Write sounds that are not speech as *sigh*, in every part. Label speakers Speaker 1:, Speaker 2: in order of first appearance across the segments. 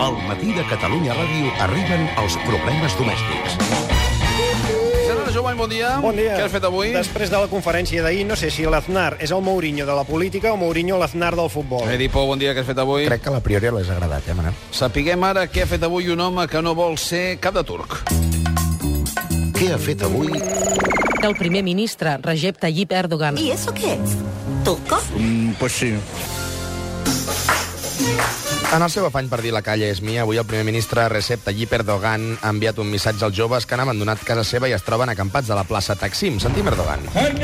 Speaker 1: Al matí de Catalunya Ràdio arriben els problemes domèstics.
Speaker 2: Gerard Jovany, bon dia.
Speaker 3: Bon dia.
Speaker 2: Què has fet avui?
Speaker 3: Després de la conferència d'ahir, no sé si l'Aznar és el Mourinho de la política o Mourinho l'Aznar del futbol.
Speaker 2: Edipo, bon dia, què has fet avui?
Speaker 4: Crec que la priori l'has agradat, eh, Manel?
Speaker 2: Sapiguem ara què ha fet avui un home que no vol ser cap de turc.
Speaker 1: Què ha fet avui?
Speaker 5: El primer ministre, Recep Tayyip Erdogan,
Speaker 6: ¿Y eso qué es? ¿Turco?
Speaker 4: En el seu afany per dir la calle és mia, avui el primer ministre Recep Tayyip Erdogan ha enviat un missatge als joves que han abandonat casa seva i es troben acampats a la plaça Taksim. Sentim Erdogan.
Speaker 1: Eh?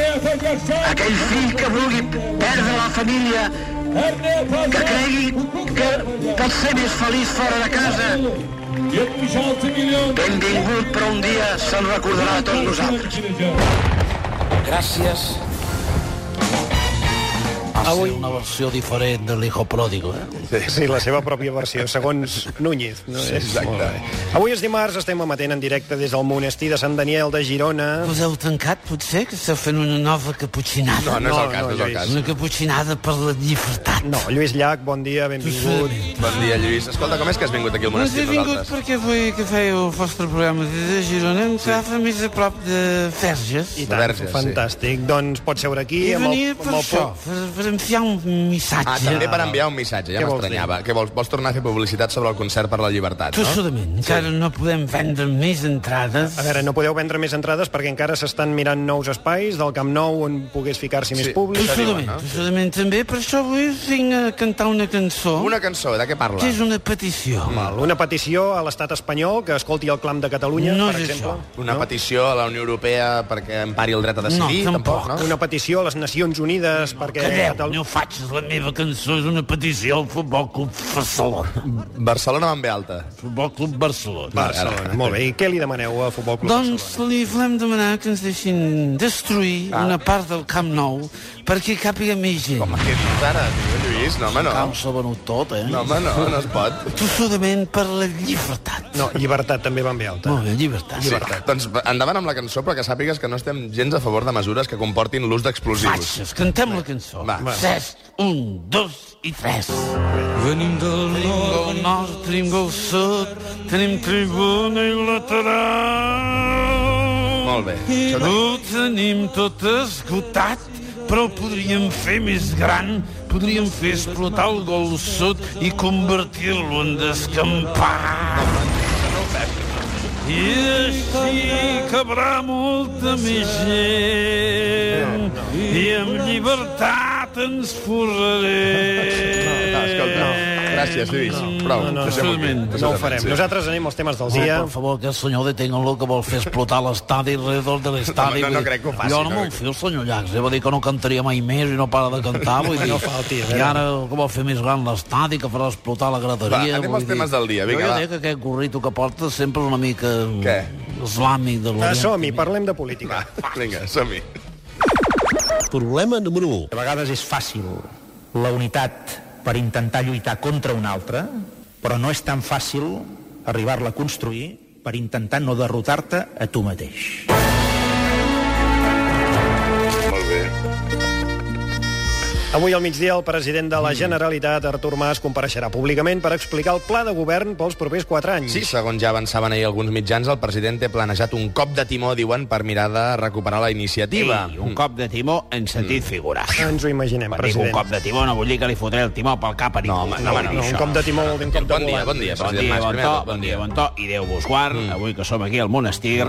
Speaker 7: aquell fill que vulgui perdre la família, que cregui que pot ser més feliç fora de casa, benvingut, però un dia se'n recordarà a tots nosaltres.
Speaker 8: Gràcies a ser una versió diferent de l'hijo pródigo, eh?
Speaker 3: Sí, la seva pròpia versió, segons Núñez. No? Sí, exacte. Avui és dimarts, estem amatent en directe des del monestir de Sant Daniel de Girona.
Speaker 8: Us heu tancat, potser, que esteu fent una nova caputxinada?
Speaker 4: No, no és el
Speaker 3: no,
Speaker 4: cas, no, és
Speaker 3: no,
Speaker 4: el
Speaker 3: Lluís.
Speaker 4: cas.
Speaker 8: Una caputxinada per la llibertat. eh,
Speaker 3: No, Lluís Llach, bon dia, benvingut.
Speaker 4: Bon dia, Lluís. Escolta, com és que has vingut aquí al
Speaker 8: No he
Speaker 4: monestir
Speaker 8: vingut
Speaker 4: nosaltres?
Speaker 8: perquè vull que fèieu el vostre programa des de Girona, em agafa més a prop de Ferges.
Speaker 3: I
Speaker 4: De
Speaker 3: tant,
Speaker 4: Verges, sí.
Speaker 3: fantàstic. Doncs pots seure aquí
Speaker 8: I
Speaker 3: amb el,
Speaker 8: venia per
Speaker 3: amb el
Speaker 8: això,
Speaker 3: pu-
Speaker 8: per, per enviar un missatge.
Speaker 4: Ah, també per enviar un missatge, ja
Speaker 3: Què vols
Speaker 4: m'estranyava. Que vols, vols tornar a fer publicitat sobre el concert per la llibertat, no?
Speaker 8: Tossudament, encara no podem vendre més entrades.
Speaker 3: A veure, no podeu vendre més entrades perquè encara s'estan mirant nous espais del Camp Nou on pogués ficar-s'hi més
Speaker 4: Sí.
Speaker 3: públic.
Speaker 8: Tossudament,
Speaker 4: no?
Speaker 8: tossudament també, per això avui us vinc a cantar una cançó,
Speaker 4: Una cançó, de què parla?
Speaker 8: que és una petició.
Speaker 3: Val, Una petició a l'estat espanyol que escolti el clam de Catalunya,
Speaker 8: No
Speaker 3: per
Speaker 8: és
Speaker 3: exemple.
Speaker 8: això.
Speaker 4: Una petició a la Unió Europea perquè empari el dret a decidir?
Speaker 8: No, tampoc.
Speaker 4: no?
Speaker 3: Una petició a les Nacions Unides perquè...
Speaker 8: Calleu,
Speaker 3: Catal-
Speaker 8: no faig la meva cançó, és una petició al Futbol Club Barcelona.
Speaker 4: Barcelona va en ve alta.
Speaker 8: Futbol Club Barcelona.
Speaker 3: Barcelona. Molt bé. I què li demaneu a Futbol Club
Speaker 8: Doncs li volem demanar que ens deixin destruir ah. una part del Camp Nou perquè hi càpiga més gent.
Speaker 4: Home, què dius ara, tio, Lluís? No, home, no.
Speaker 8: Camp s'ha venut tot, eh?
Speaker 4: No, home, no, no es pot.
Speaker 8: Tossudament per la llibertat.
Speaker 3: No, llibertat també va en ve alta.
Speaker 8: Molt bé, llibertat.
Speaker 4: Sí. Doncs endavant amb la cançó, però que sàpigues que no estem gens a favor de mesures que comportin l'ús d'explosius.
Speaker 8: Faixes, cantem la cançó.
Speaker 4: Va. Va.
Speaker 8: Cesc, un, dos i tres. Venim del nord, del nord tenim del sud, tenim tribuna i lateral.
Speaker 4: Molt bé. Això
Speaker 8: Ho tenim tot esgotat, però ho podríem fer més gran. Podríem fer explotar el gol sud i convertir-lo en descampat. I així cabrà molta més gent i amb llibertat ens forrarem.
Speaker 4: No, escolta, no. Gràcies, Lluís. Prou.
Speaker 3: no,
Speaker 4: Deixem-ho aquí.
Speaker 8: absolutament.
Speaker 3: No ho farem. Nosaltres anem als temes del
Speaker 8: Sí,
Speaker 3: dia.
Speaker 8: por favor, que el senyor detengan lo que vol fer explotar l'estadi alrededor de
Speaker 4: No, no,
Speaker 8: l'estadi.
Speaker 4: no
Speaker 8: Vull dir,
Speaker 4: crec que ho faci,
Speaker 8: Jo
Speaker 4: no
Speaker 8: no,
Speaker 4: crec
Speaker 8: m'ho fio, el senyor Llachs, eh? va dir que no cantaria mai més i no para de cantar, vull dir...
Speaker 3: No falti, a veure.
Speaker 8: I ara que vol fer més gran l'estadi, que farà explotar la graderia...
Speaker 4: Va, anem
Speaker 8: vull
Speaker 4: als temes del dia, vinga,
Speaker 8: Jo
Speaker 4: va.
Speaker 8: ja dic que aquest gorrito que porta sempre és una mica...
Speaker 4: Què?
Speaker 8: Islàmic de
Speaker 3: Ah,
Speaker 8: l'Orient.
Speaker 3: Som-hi, parlem de política.
Speaker 4: Vinga, som-hi.
Speaker 9: Problema número 1. A vegades és fàcil la unitat per intentar lluitar contra una altra, però no és tan fàcil arribar-la a construir per intentar no derrotar-te a tu mateix.
Speaker 3: Avui al migdia el president de la Generalitat, Artur Mas, compareixerà públicament per explicar el pla de govern pels propers quatre anys.
Speaker 4: Sí, segons ja avançaven ahir alguns mitjans, el president té planejat un cop de timó, diuen, per mirar de recuperar la iniciativa.
Speaker 10: Ei, un cop de timó en sentit
Speaker 4: Mm.
Speaker 10: figurat.
Speaker 3: Ens ho imaginem,
Speaker 10: Quan dic un
Speaker 3: president.
Speaker 10: cop de timó no vull dir que li fotré el timó pel cap a ningú.
Speaker 4: home, no, home, no,
Speaker 3: No, un cop de timó vol dir un cop de
Speaker 4: Bon dia,
Speaker 3: volant.
Speaker 4: bon dia,
Speaker 10: Bon
Speaker 4: president
Speaker 10: dia,
Speaker 4: Mas.
Speaker 10: bon
Speaker 4: Primer, Mm.
Speaker 10: to, bon dia, bon to, i Déu vos guard, avui que som aquí al monestir,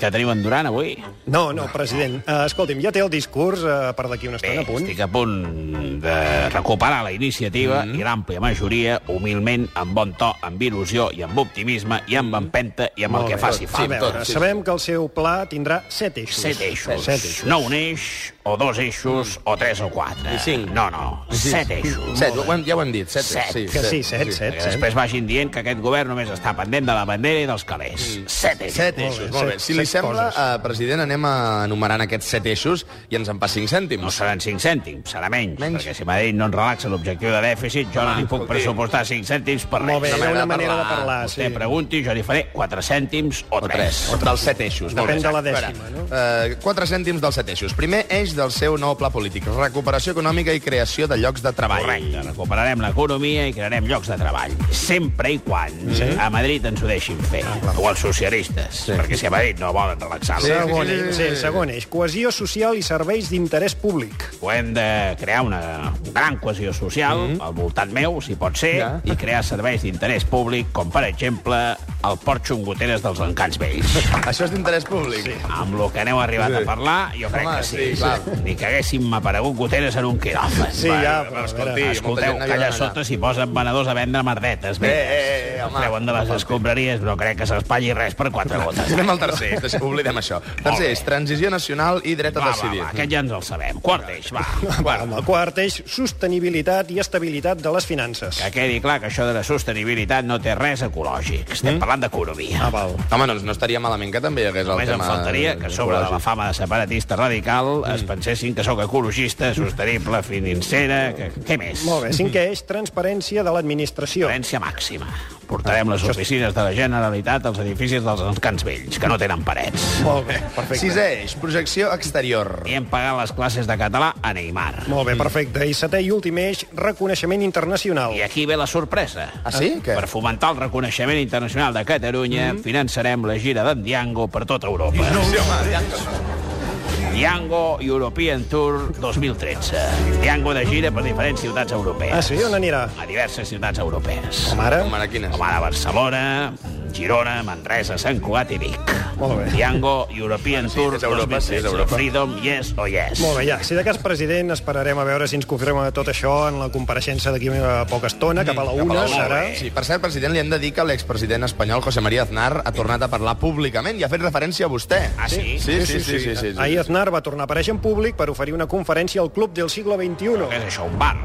Speaker 10: que tenim endurant avui.
Speaker 3: No, no, president. Uh, escolti'm, ja té el discurs uh, per d'aquí una estona a punt.
Speaker 10: estic a punt de recuperar la iniciativa
Speaker 11: Mm.
Speaker 10: i l'àmplia majoria, humilment, amb bon to, amb il·lusió i amb optimisme i
Speaker 11: Mm.
Speaker 10: amb empenta i amb el que faci
Speaker 3: A
Speaker 10: falta.
Speaker 3: veure, sabem que el seu pla tindrà set eixos.
Speaker 10: Set eixos.
Speaker 3: Set eixos.
Speaker 10: No un eix, o dos eixos,
Speaker 11: Mm.
Speaker 10: o tres o quatre.
Speaker 4: I cinc.
Speaker 10: No, no, set eixos.
Speaker 4: Set, ho hem, ja ho hem dit. Set.
Speaker 10: Set.
Speaker 3: Que sí, set, set,
Speaker 10: Que
Speaker 3: set.
Speaker 10: després vagin dient que aquest govern només està pendent de la bandera i dels calés. Set eixos.
Speaker 4: Set eixos, molt bé.
Speaker 3: set-
Speaker 4: Si li
Speaker 3: set
Speaker 4: sembla,
Speaker 3: coses.
Speaker 4: eh, president, anem a enumerant aquests set eixos i ens en pas cinc
Speaker 10: No
Speaker 4: cèntims.
Speaker 10: seran 5 cèntims, serà menys,
Speaker 4: Menys.
Speaker 10: menys, perquè si Madrid no ens relaxa l'objectiu de dèficit, jo no li puc pressupostar 5 cèntims per res.
Speaker 3: Molt bé,
Speaker 4: Una
Speaker 3: era
Speaker 4: manera
Speaker 3: una manera
Speaker 4: de
Speaker 3: de parlar.
Speaker 10: Vostè
Speaker 3: Sí.
Speaker 10: pregunti, jo li faré 4 cèntims o
Speaker 4: O
Speaker 10: 3.
Speaker 4: tres. Dels set eixos. molt
Speaker 3: Depèn
Speaker 4: bé.
Speaker 3: de la
Speaker 4: Exacte.
Speaker 3: dècima,
Speaker 4: A veure, eh, quatre cèntims dels set eixos. Primer eix
Speaker 11: del seu nou pla polític, recuperació econòmica i creació de llocs de treball.
Speaker 8: Correcte, recuperarem l'economia i crearem llocs de treball. Sempre i quan sí. a Madrid ens ho deixin fer. Ah, o els socialistes, sí. perquè si a Madrid no volen relaxar-lo.
Speaker 3: Segon eix, sí, segon eix. Cohesió social i serveis d'interès públic.
Speaker 8: Ho hem de crear una gran cohesió social mm -hmm. al voltant meu, si pot ser, ja. i crear serveis d'interès públic, com per exemple el Port Xungoteres dels Encants Vells.
Speaker 11: Això és d'interès públic? Sí.
Speaker 8: Amb el que aneu arribat a parlar, jo crec
Speaker 11: Home,
Speaker 8: que sí.
Speaker 11: sí, clar.
Speaker 8: Ni que haguéssim aparegut goteres en un quiròfan.
Speaker 3: Sí, ja, però,
Speaker 11: escolti,
Speaker 3: a
Speaker 11: molta gent
Speaker 8: Escolteu, que
Speaker 11: anava
Speaker 8: allà
Speaker 11: allà.
Speaker 8: sota s'hi posen venedors a vendre merdetes.
Speaker 11: Eh,
Speaker 8: Eh,
Speaker 11: eh, eh, home.
Speaker 8: Treuen de les escombraries, no crec que s'espatlli res per quatre gotes.
Speaker 11: Anem al tercer, eix, deixa- oblidem
Speaker 10: *laughs*
Speaker 11: això. Tercer és transició nacional i dret a
Speaker 8: Va, va,
Speaker 11: decidir.
Speaker 8: va, aquest ja ens el sabem. Quart eix, va.
Speaker 3: Bueno. Amb el quart eix, sostenibilitat i estabilitat de les finances.
Speaker 8: Que quedi clar que això de la sostenibilitat no té res ecològic. Estem mm? parlant d'economia.
Speaker 3: Ah, val.
Speaker 11: Home, doncs no estaria malament que també hi hagués el
Speaker 8: Només em
Speaker 11: tema...
Speaker 8: faltaria que a sobre de la fama de separatista radical es pensessin que sóc ecologista, sostenible, financera... Que, què més?
Speaker 3: Molt bé, cinquè eix, transparència de l'administració.
Speaker 8: Diferència màxima. Portarem les oficines de la Generalitat als edificis dels encants vells, que no tenen parets.
Speaker 3: Molt bé,
Speaker 11: Perfecte.
Speaker 3: perfecte.
Speaker 11: Sisè eix, projecció exterior.
Speaker 8: I hem pagat les classes de català a Neymar.
Speaker 3: Molt bé, perfecte. I setè i últim eix, reconeixement internacional.
Speaker 8: I aquí ve la sorpresa.
Speaker 11: Ah, sí? Què? Mm-hmm.
Speaker 8: Per fomentar el reconeixement internacional de Catalunya, finançarem la gira d'en Diango per tota Europa. No, sí, home, Diango European Tour 2013. Diango de gira per diferents ciutats europees.
Speaker 3: Ah, sí? On anirà?
Speaker 8: A diverses ciutats europees.
Speaker 3: Com ara?
Speaker 11: Home, quines?
Speaker 8: Com ara Barcelona, Girona, Manresa, Sant Cugat i Vic.
Speaker 3: Molt bé.
Speaker 8: Diango European Tour
Speaker 11: és Europa, Ah, sí, és
Speaker 8: 2013.
Speaker 11: Europa.
Speaker 8: Freedom, yes o yes.
Speaker 3: Molt bé, ja. Si de cas, president, esperarem a veure si ens confirma tot això en la compareixença d'aquí a poca estona, cap a la una,
Speaker 8: la una,
Speaker 3: serà...
Speaker 8: eh?
Speaker 11: Sí, per cert, president, li hem de dir que l'expresident espanyol José María Aznar ha tornat a parlar públicament i ha fet referència a vostè.
Speaker 8: Ah, sí?
Speaker 11: Sí, sí, sí. sí, sí, sí, sí.
Speaker 3: Ahir Aznar va tornar a aparèixer en públic per oferir una conferència al Club del Siglo
Speaker 8: Què
Speaker 3: XXI.
Speaker 8: és això, un bar?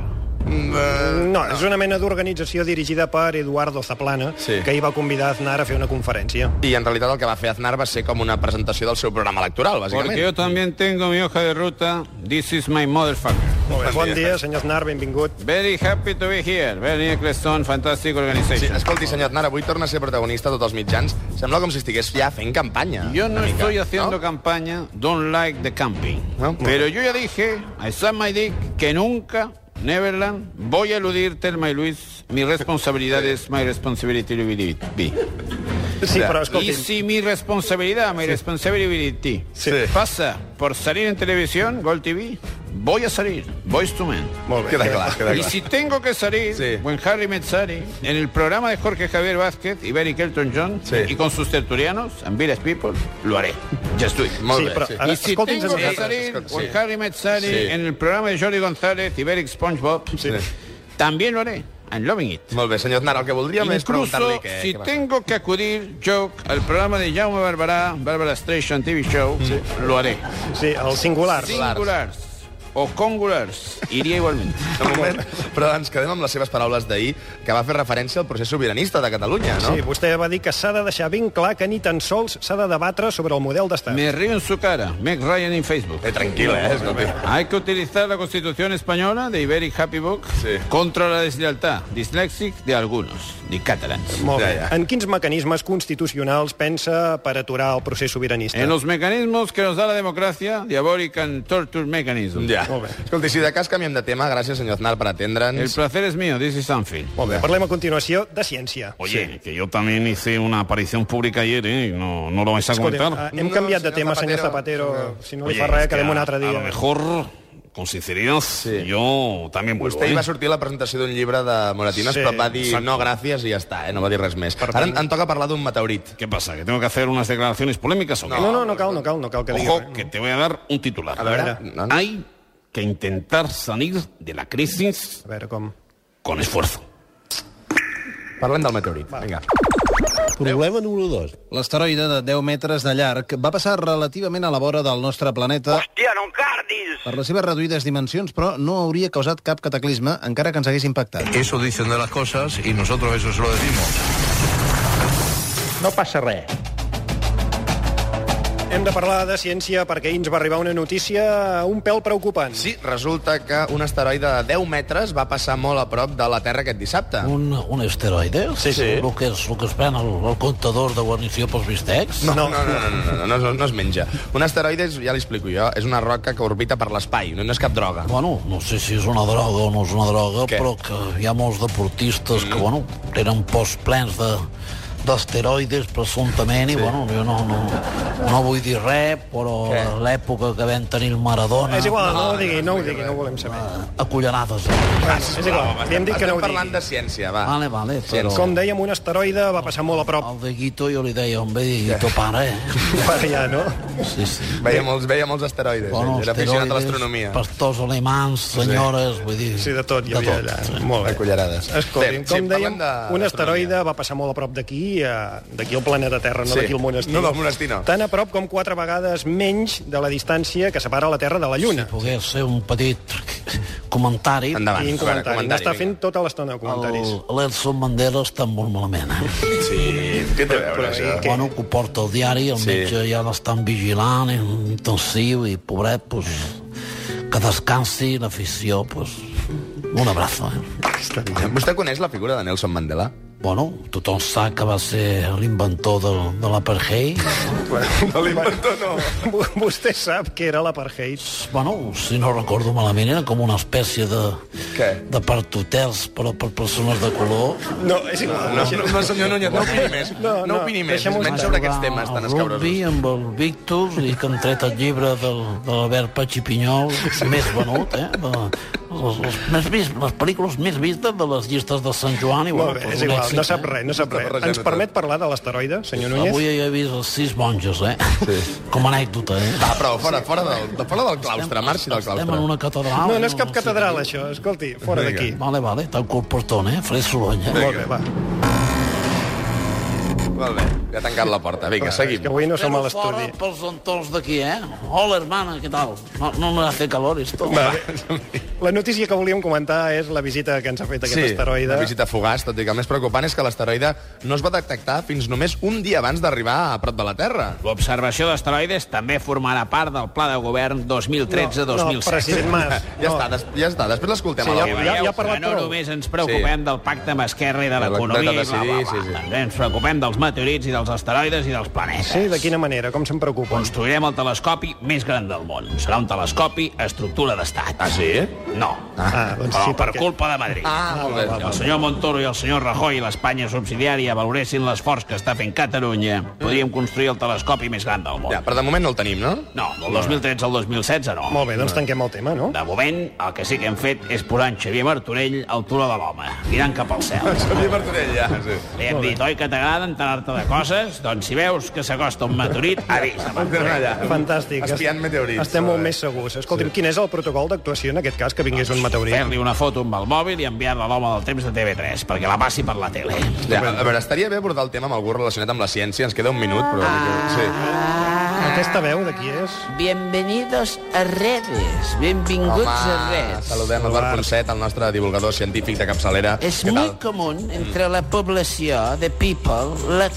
Speaker 3: No, és una mena d'organització dirigida per Eduardo Zaplana,
Speaker 11: Sí.
Speaker 3: que hi va convidar Aznar a fer una conferència.
Speaker 11: I en realitat el que va fer Aznar va ser com una presentació del seu programa electoral,
Speaker 10: Porque
Speaker 11: bàsicament.
Speaker 10: yo también tengo mi hoja de ruta. This is my motherfucker.
Speaker 3: Molt bé, bon dia, senyor Aznar, benvingut.
Speaker 10: Very happy to be here. Very Eccleston, fantastic
Speaker 11: Sí,
Speaker 10: organization.
Speaker 11: escolti, senyor Aznar, avui torna a ser protagonista a tots els mitjans. Sembla com si estigués ja fent campanya.
Speaker 10: Yo
Speaker 11: una
Speaker 10: no
Speaker 11: mica,
Speaker 10: estoy haciendo
Speaker 11: no?
Speaker 10: campaña, don't like the camping.
Speaker 11: No.
Speaker 10: Pero yo ya dije, I said my dick, que nunca, Neverland, voy a eludir Telma y Luis. Mi responsabilidad es my responsibility to believe it be.
Speaker 3: Sí, però
Speaker 10: Y
Speaker 3: escolti,
Speaker 10: si mi responsabilidad, mi responsibility,
Speaker 11: Sí.
Speaker 10: pasa por salir en televisión, Gol TV, voy a salir, voice to man.
Speaker 11: Molt bé. Queda clar, queda
Speaker 10: Y
Speaker 11: clar.
Speaker 10: si tengo que salir,
Speaker 11: Sí.
Speaker 10: buen Harry Metzari, en el programa de Jorge Javier Vázquez y Barry Kelton John,
Speaker 11: Sí.
Speaker 10: y con sus tertulianos, and Village People, lo haré.
Speaker 11: Just do it. Molt
Speaker 3: Sí,
Speaker 11: bé,
Speaker 3: però-
Speaker 11: sí.
Speaker 3: a veure,
Speaker 10: Y si
Speaker 3: escolti'm,
Speaker 10: tengo
Speaker 3: senyor
Speaker 10: que salir,
Speaker 11: Sí.
Speaker 10: buen Harry Metzari,
Speaker 11: Sí.
Speaker 10: en el programa de Jordi González y Barry SpongeBob, también lo haré. I'm loving it.
Speaker 11: Molt bé, senyor Aznar, el que voldríem és preguntar-li
Speaker 10: Incluso
Speaker 11: què...
Speaker 10: si
Speaker 11: què va fer.
Speaker 10: tengo que acudir, Joke, al programa de Jaume Barberá, Barbara Station TV Show, lo haré.
Speaker 3: sí, el singular.
Speaker 10: Singulars o congulars, iría igualmente.
Speaker 11: Un moment, però ens quedem amb les seves paraules d'ahir, que va fer referència al procés sobiranista de Catalunya, no?
Speaker 3: Sí, vostè va dir que s'ha de deixar ben clar que ni tan sols s'ha de debatre sobre el model d'estat.
Speaker 10: Me río en su cara, Meg Ryan en Facebook.
Speaker 11: Eh, tranquil, eh, escolti.
Speaker 10: Hay que utilizar la Constitución Española de Iberic Happy Book
Speaker 11: Sí.
Speaker 10: contra la deslealtad dyslexic de algunos, de catalans.
Speaker 3: Molt bé.
Speaker 11: Ja, ja.
Speaker 3: En quins mecanismes constitucionals pensa per aturar el procés sobiranista?
Speaker 8: Eh,
Speaker 10: En los mecanismos que nos da la democracia, diabolic and torture mechanism.
Speaker 11: Ja.
Speaker 3: Molt bé.
Speaker 11: Escolti, si de cas canviem de tema, gràcies, senyor Aznar, per
Speaker 10: El
Speaker 11: atendre'ns.
Speaker 10: placer es mío, this is something.
Speaker 3: Molt bé. Parlem a continuació de ciència.
Speaker 8: Oye, que yo también hice una aparición pública ayer, ¿eh? No, no lo vais a
Speaker 3: Escolti,
Speaker 8: comentar.
Speaker 3: eh, hem
Speaker 11: No,
Speaker 3: canviat de
Speaker 11: senyor
Speaker 3: tema, senyor
Speaker 11: Zapatero.
Speaker 3: Zapatero. Si no li
Speaker 8: Oye,
Speaker 3: fa res,
Speaker 8: es que
Speaker 3: quedem un
Speaker 8: a-
Speaker 3: altre
Speaker 8: A lo
Speaker 3: dia.
Speaker 8: mejor, con sinceridad, yo también vuelvo.
Speaker 11: Vostè hi
Speaker 8: ¿eh?
Speaker 11: va sortir a la presentació d'un llibre de Moratines,
Speaker 3: Sí,
Speaker 11: sí, però va dir no, gràcies, i ja està, eh? no va dir res més. Ara en, en toca parlar d'un meteorit.
Speaker 8: ¿Qué pasa? ¿Que tengo que hacer unas declaraciones polémicas o qué?
Speaker 3: No, no, no cal, no cal, no cal que digui
Speaker 8: Ojo,
Speaker 3: res.
Speaker 8: que te voy a dar un titular.
Speaker 11: A veure, no, no.
Speaker 8: Hay que intentar salir de la crisis
Speaker 3: A veure com...
Speaker 8: con esfuerzo.
Speaker 11: parlem del meteorit. Vinga.
Speaker 12: Problema número 2.
Speaker 13: L'asteroide de 10 metres de llarg va passar relativament a la vora del nostre planeta
Speaker 14: Hòstia, no encardis!
Speaker 13: per les seves reduïdes dimensions, però no hauria causat cap cataclisme, encara que ens hagués impactat.
Speaker 15: Eso dicen de las cosas y nosotros eso se lo decimos.
Speaker 12: No passa res.
Speaker 3: Hem de parlar de ciència perquè ahir ens va arribar una notícia un pèl preocupant.
Speaker 11: Sí, resulta que un asteroide de 10 metres va passar molt a prop de la Terra aquest dissabte.
Speaker 8: Un, un asteroide? Sí, sí. El que es, el que es pren el, el contador de guarnició pels bistecs?
Speaker 11: No, no, no, no, no, no, no, no, no es menja. Un asteroide, és- ja li explico jo, és una roca que orbita per l'espai, no, no és cap droga.
Speaker 8: Bueno, no sé si és una droga o no és una droga, Què? però que hi ha molts deportistes que, bueno, tenen posts plens de d'asteroides, presumptament, sí. i bueno, jo no, no, no vull dir res, però a l'època que vam tenir el Maradona...
Speaker 3: És igual, no ho digui, no ho digui, no ho volem saber.
Speaker 8: Acollanades.
Speaker 3: És igual, li hem dit que no ho digui. Ah.
Speaker 11: de ciència, va.
Speaker 8: Vale, vale, però...
Speaker 3: Com dèiem, un asteroide va passar molt a prop.
Speaker 8: El de Guito jo li deia, on ve Guito pare, eh?
Speaker 3: *laughs* Pare ja, no?
Speaker 8: Sí, sí.
Speaker 11: Veia molts, veia molts asteroides.
Speaker 8: Bueno,
Speaker 11: eh? Era aficionat a l'astronomia.
Speaker 8: Pastors alemans, senyores, sí. vull dir...
Speaker 3: Sí, de tot hi
Speaker 8: de
Speaker 3: havia
Speaker 8: tot.
Speaker 3: allà.
Speaker 11: Molt bé. cullerades.
Speaker 3: Escolti'm,
Speaker 11: Bé,
Speaker 3: com
Speaker 11: sí,
Speaker 3: dèiem,
Speaker 11: parlem de-
Speaker 3: un asteroide va passar molt a prop d'aquí, eh, d'aquí al planeta Terra, no
Speaker 11: Sí.
Speaker 3: d'aquí al monestir.
Speaker 11: No, del monestir no.
Speaker 3: Tan a prop com quatre vegades menys de la distància que separa la Terra de la Lluna.
Speaker 8: Si pogués ser un petit *laughs* comentari...
Speaker 11: Endavant.
Speaker 3: I un comentari.
Speaker 11: Vinga, Oh, comentari,
Speaker 3: N'està fent tota l'estona de comentaris.
Speaker 8: El- L'Elson Mandela està molt malament. Eh?
Speaker 11: Sí, què té a veure,
Speaker 3: eh,
Speaker 11: això?
Speaker 8: Que... Bueno, que ho porta el diari, el
Speaker 11: Sí.
Speaker 8: sí. metge ja l'estan vigilant, en intensiu, i pobret, pues, que descansi l'afició, pues, un abrazo. Eh?
Speaker 11: Vostè coneix la figura de Nelson Mandela?
Speaker 8: Bueno, tothom sap que va ser l'inventor de, de l'apartheid.
Speaker 11: No l'invento, no.
Speaker 3: *laughs* Vostè sap que era l'apartheid.
Speaker 8: Bueno, si no recordo malament, era com una espècie de,
Speaker 11: Què?
Speaker 8: de partotels però per persones de color.
Speaker 3: No, és igual.
Speaker 11: No, no, no, senyor Núñez, no opini més. No,
Speaker 3: No,
Speaker 11: no
Speaker 3: no,
Speaker 11: opini més.
Speaker 3: deixem-ho
Speaker 11: Menys
Speaker 3: estar.
Speaker 11: sobre aquests temes tan
Speaker 8: El rugby
Speaker 11: escabrosos.
Speaker 8: amb el Victus i que han tret el llibre del, de l'Albert Patxipinyol, més venut, eh? De, les, les, més vist, les pel·lícules més vistes de les llistes de Sant Joan. I,
Speaker 3: Molt bé, és igual, no sap res, no sap res.
Speaker 11: barrejant
Speaker 3: Ens
Speaker 11: tot.
Speaker 3: permet parlar de l'asteroide, senyor Núñez?
Speaker 8: eh? Avui ja he vist els sis monges, eh? Sí. Com a anècdota, eh?
Speaker 11: Va, Ah, però fora, fora, del, de- fora del claustre, marxi del
Speaker 8: Estem en
Speaker 11: claustre.
Speaker 8: una catedral.
Speaker 3: No, no és
Speaker 8: i
Speaker 3: cap
Speaker 8: sé
Speaker 3: catedral, això. Escolti, fora
Speaker 11: Vinga.
Speaker 3: d'aquí.
Speaker 8: Vale, vale, tanco el portón, eh? Faré soroll, eh?
Speaker 3: Molt bé, va.
Speaker 11: Molt bé, ja ha tancat la porta. Vinga,
Speaker 3: És que
Speaker 11: seguim.
Speaker 3: avui no som a
Speaker 8: Però
Speaker 3: l'estudi.
Speaker 8: fora pels entorns d'aquí, eh? Hola, hermana, què tal? No, no me hace calor, esto.
Speaker 3: Va, La notícia que volíem comentar és la visita que ens ha fet aquest asteroide.
Speaker 11: una visita fugaç, tot i que el més preocupant és que l'asteroide no es va detectar fins només un dia abans d'arribar a prop de la Terra.
Speaker 16: L'observació d'asteroides també formarà part del Pla de Govern 2013-2017.
Speaker 3: No, president Mas.
Speaker 11: Ja
Speaker 3: no.
Speaker 11: està, des, ja està, després l'escoltem
Speaker 3: Sí,
Speaker 11: a la
Speaker 3: ja-
Speaker 16: Que
Speaker 11: una.
Speaker 16: veieu
Speaker 3: ja ha
Speaker 16: que
Speaker 3: parlat
Speaker 16: no
Speaker 3: prou.
Speaker 16: només ens preocupem
Speaker 11: Sí.
Speaker 16: del pacte amb Esquerra i de
Speaker 11: De la-
Speaker 16: l'economia,
Speaker 11: de
Speaker 16: i bla, bla,
Speaker 11: decidir,
Speaker 16: bla.
Speaker 11: sí, sí.
Speaker 16: També ens preocupem dels meteorits i dels asteroides i dels planetes.
Speaker 3: Sí, de quina manera? Com se'n preocupen?
Speaker 16: Construirem el telescopi més gran del món. Serà un telescopi a estructura d'estat. Ah, sí? No.
Speaker 3: Ah, doncs
Speaker 16: Però
Speaker 3: sí,
Speaker 16: per
Speaker 3: perquè-
Speaker 16: culpa de Madrid.
Speaker 11: Ah, molt bé.
Speaker 16: Si el senyor Montoro i el senyor Rajoy i l'Espanya subsidiària valoressin l'esforç que està fent Catalunya, podríem construir el telescopi més gran del món.
Speaker 11: Ja, però de moment no el tenim, no?
Speaker 16: No, del 2013 al 2016 no.
Speaker 3: Molt bé, doncs tanquem el tema, no?
Speaker 16: De moment, el que sí que hem fet és posar en Xavier Martorell al turó de l'home, mirant cap al cel.
Speaker 11: Xavier Martorell, ja, sí.
Speaker 16: Li hem dit, oi que t'agrada enterar-te de coses? Doncs si veus que s'acosta un meteorit, avisa. Martorell.
Speaker 3: Fantàstic.
Speaker 11: Espiant meteorits.
Speaker 3: Estem molt més segurs. Escolti'm, quin és el protocol d'actuació en aquest cas que vingués un meteorit?
Speaker 16: Fer-li una foto amb el mòbil i enviar-la a l'home del temps de TV3, perquè la passi per la tele.
Speaker 11: Ja, a veure, estaria bé abordar el tema amb algú relacionat amb la ciència. Ens queda un minut, però... Sí.
Speaker 3: Aquesta veu de qui és?
Speaker 10: Bienvenidos a redes. Benvinguts a redes.
Speaker 11: saludem Eduard Ponset, el nostre divulgador científic de capçalera.
Speaker 10: Es
Speaker 11: Què
Speaker 10: muy
Speaker 11: tal?
Speaker 10: común entre la població de people la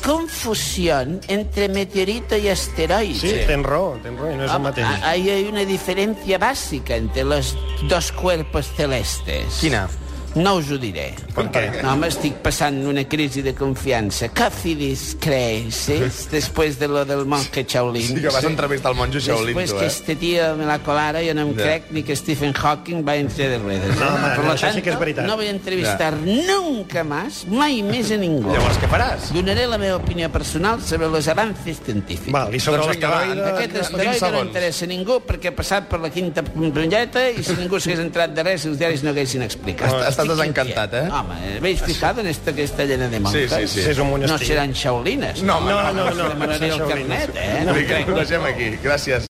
Speaker 10: confusión entre meteorito y asteroide.
Speaker 3: Sí, tens raó, tens raó, i no és el mateix.
Speaker 10: Ahí hay una diferencia básica entre los dos cuerpos celestes.
Speaker 11: Quina?
Speaker 10: No us ho diré.
Speaker 11: Per què?
Speaker 10: No, m'estic passant una crisi de confiança. Cafidis creces, després de lo del monje Shaolin.
Speaker 11: Sí, que vas entrevistar el monjo Shaolin,
Speaker 10: Després
Speaker 11: tu,
Speaker 10: que
Speaker 11: eh?
Speaker 10: este tio me la colara, jo no em
Speaker 11: Ja.
Speaker 10: crec ni que Stephen Hawking va entre de ruedes.
Speaker 3: No, home,
Speaker 10: Per
Speaker 3: no,
Speaker 10: lo
Speaker 3: això sí que és veritat.
Speaker 10: No vull entrevistar nunca más, mai més a ningú.
Speaker 11: Llavors, què faràs?
Speaker 10: Donaré la meva opinió personal sobre los avances científics.
Speaker 3: Val, i sobre
Speaker 11: Doncs vinga, va,
Speaker 3: l'asteroide...
Speaker 10: Aquest
Speaker 11: en quinze
Speaker 10: asteroide no
Speaker 11: segons.
Speaker 10: interessa a ningú perquè ha passat per la quinta punyeta i si ningú s'hagués entrat de res, els diaris no haguessin explicat.
Speaker 11: Estàs- estàs
Speaker 10: Estic
Speaker 11: desencantat,
Speaker 10: inquiet.
Speaker 11: eh?
Speaker 10: Home, eh, veig fijada en esta, aquesta llena de montes?
Speaker 11: Sí, sí, sí.
Speaker 3: És un monestir.
Speaker 10: No seran xaulines.
Speaker 11: No, home,
Speaker 3: No, no, no.
Speaker 10: Demanaré el
Speaker 3: Shaolin.
Speaker 10: carnet, eh?
Speaker 11: Vinga, ho deixem aquí. Gràcies.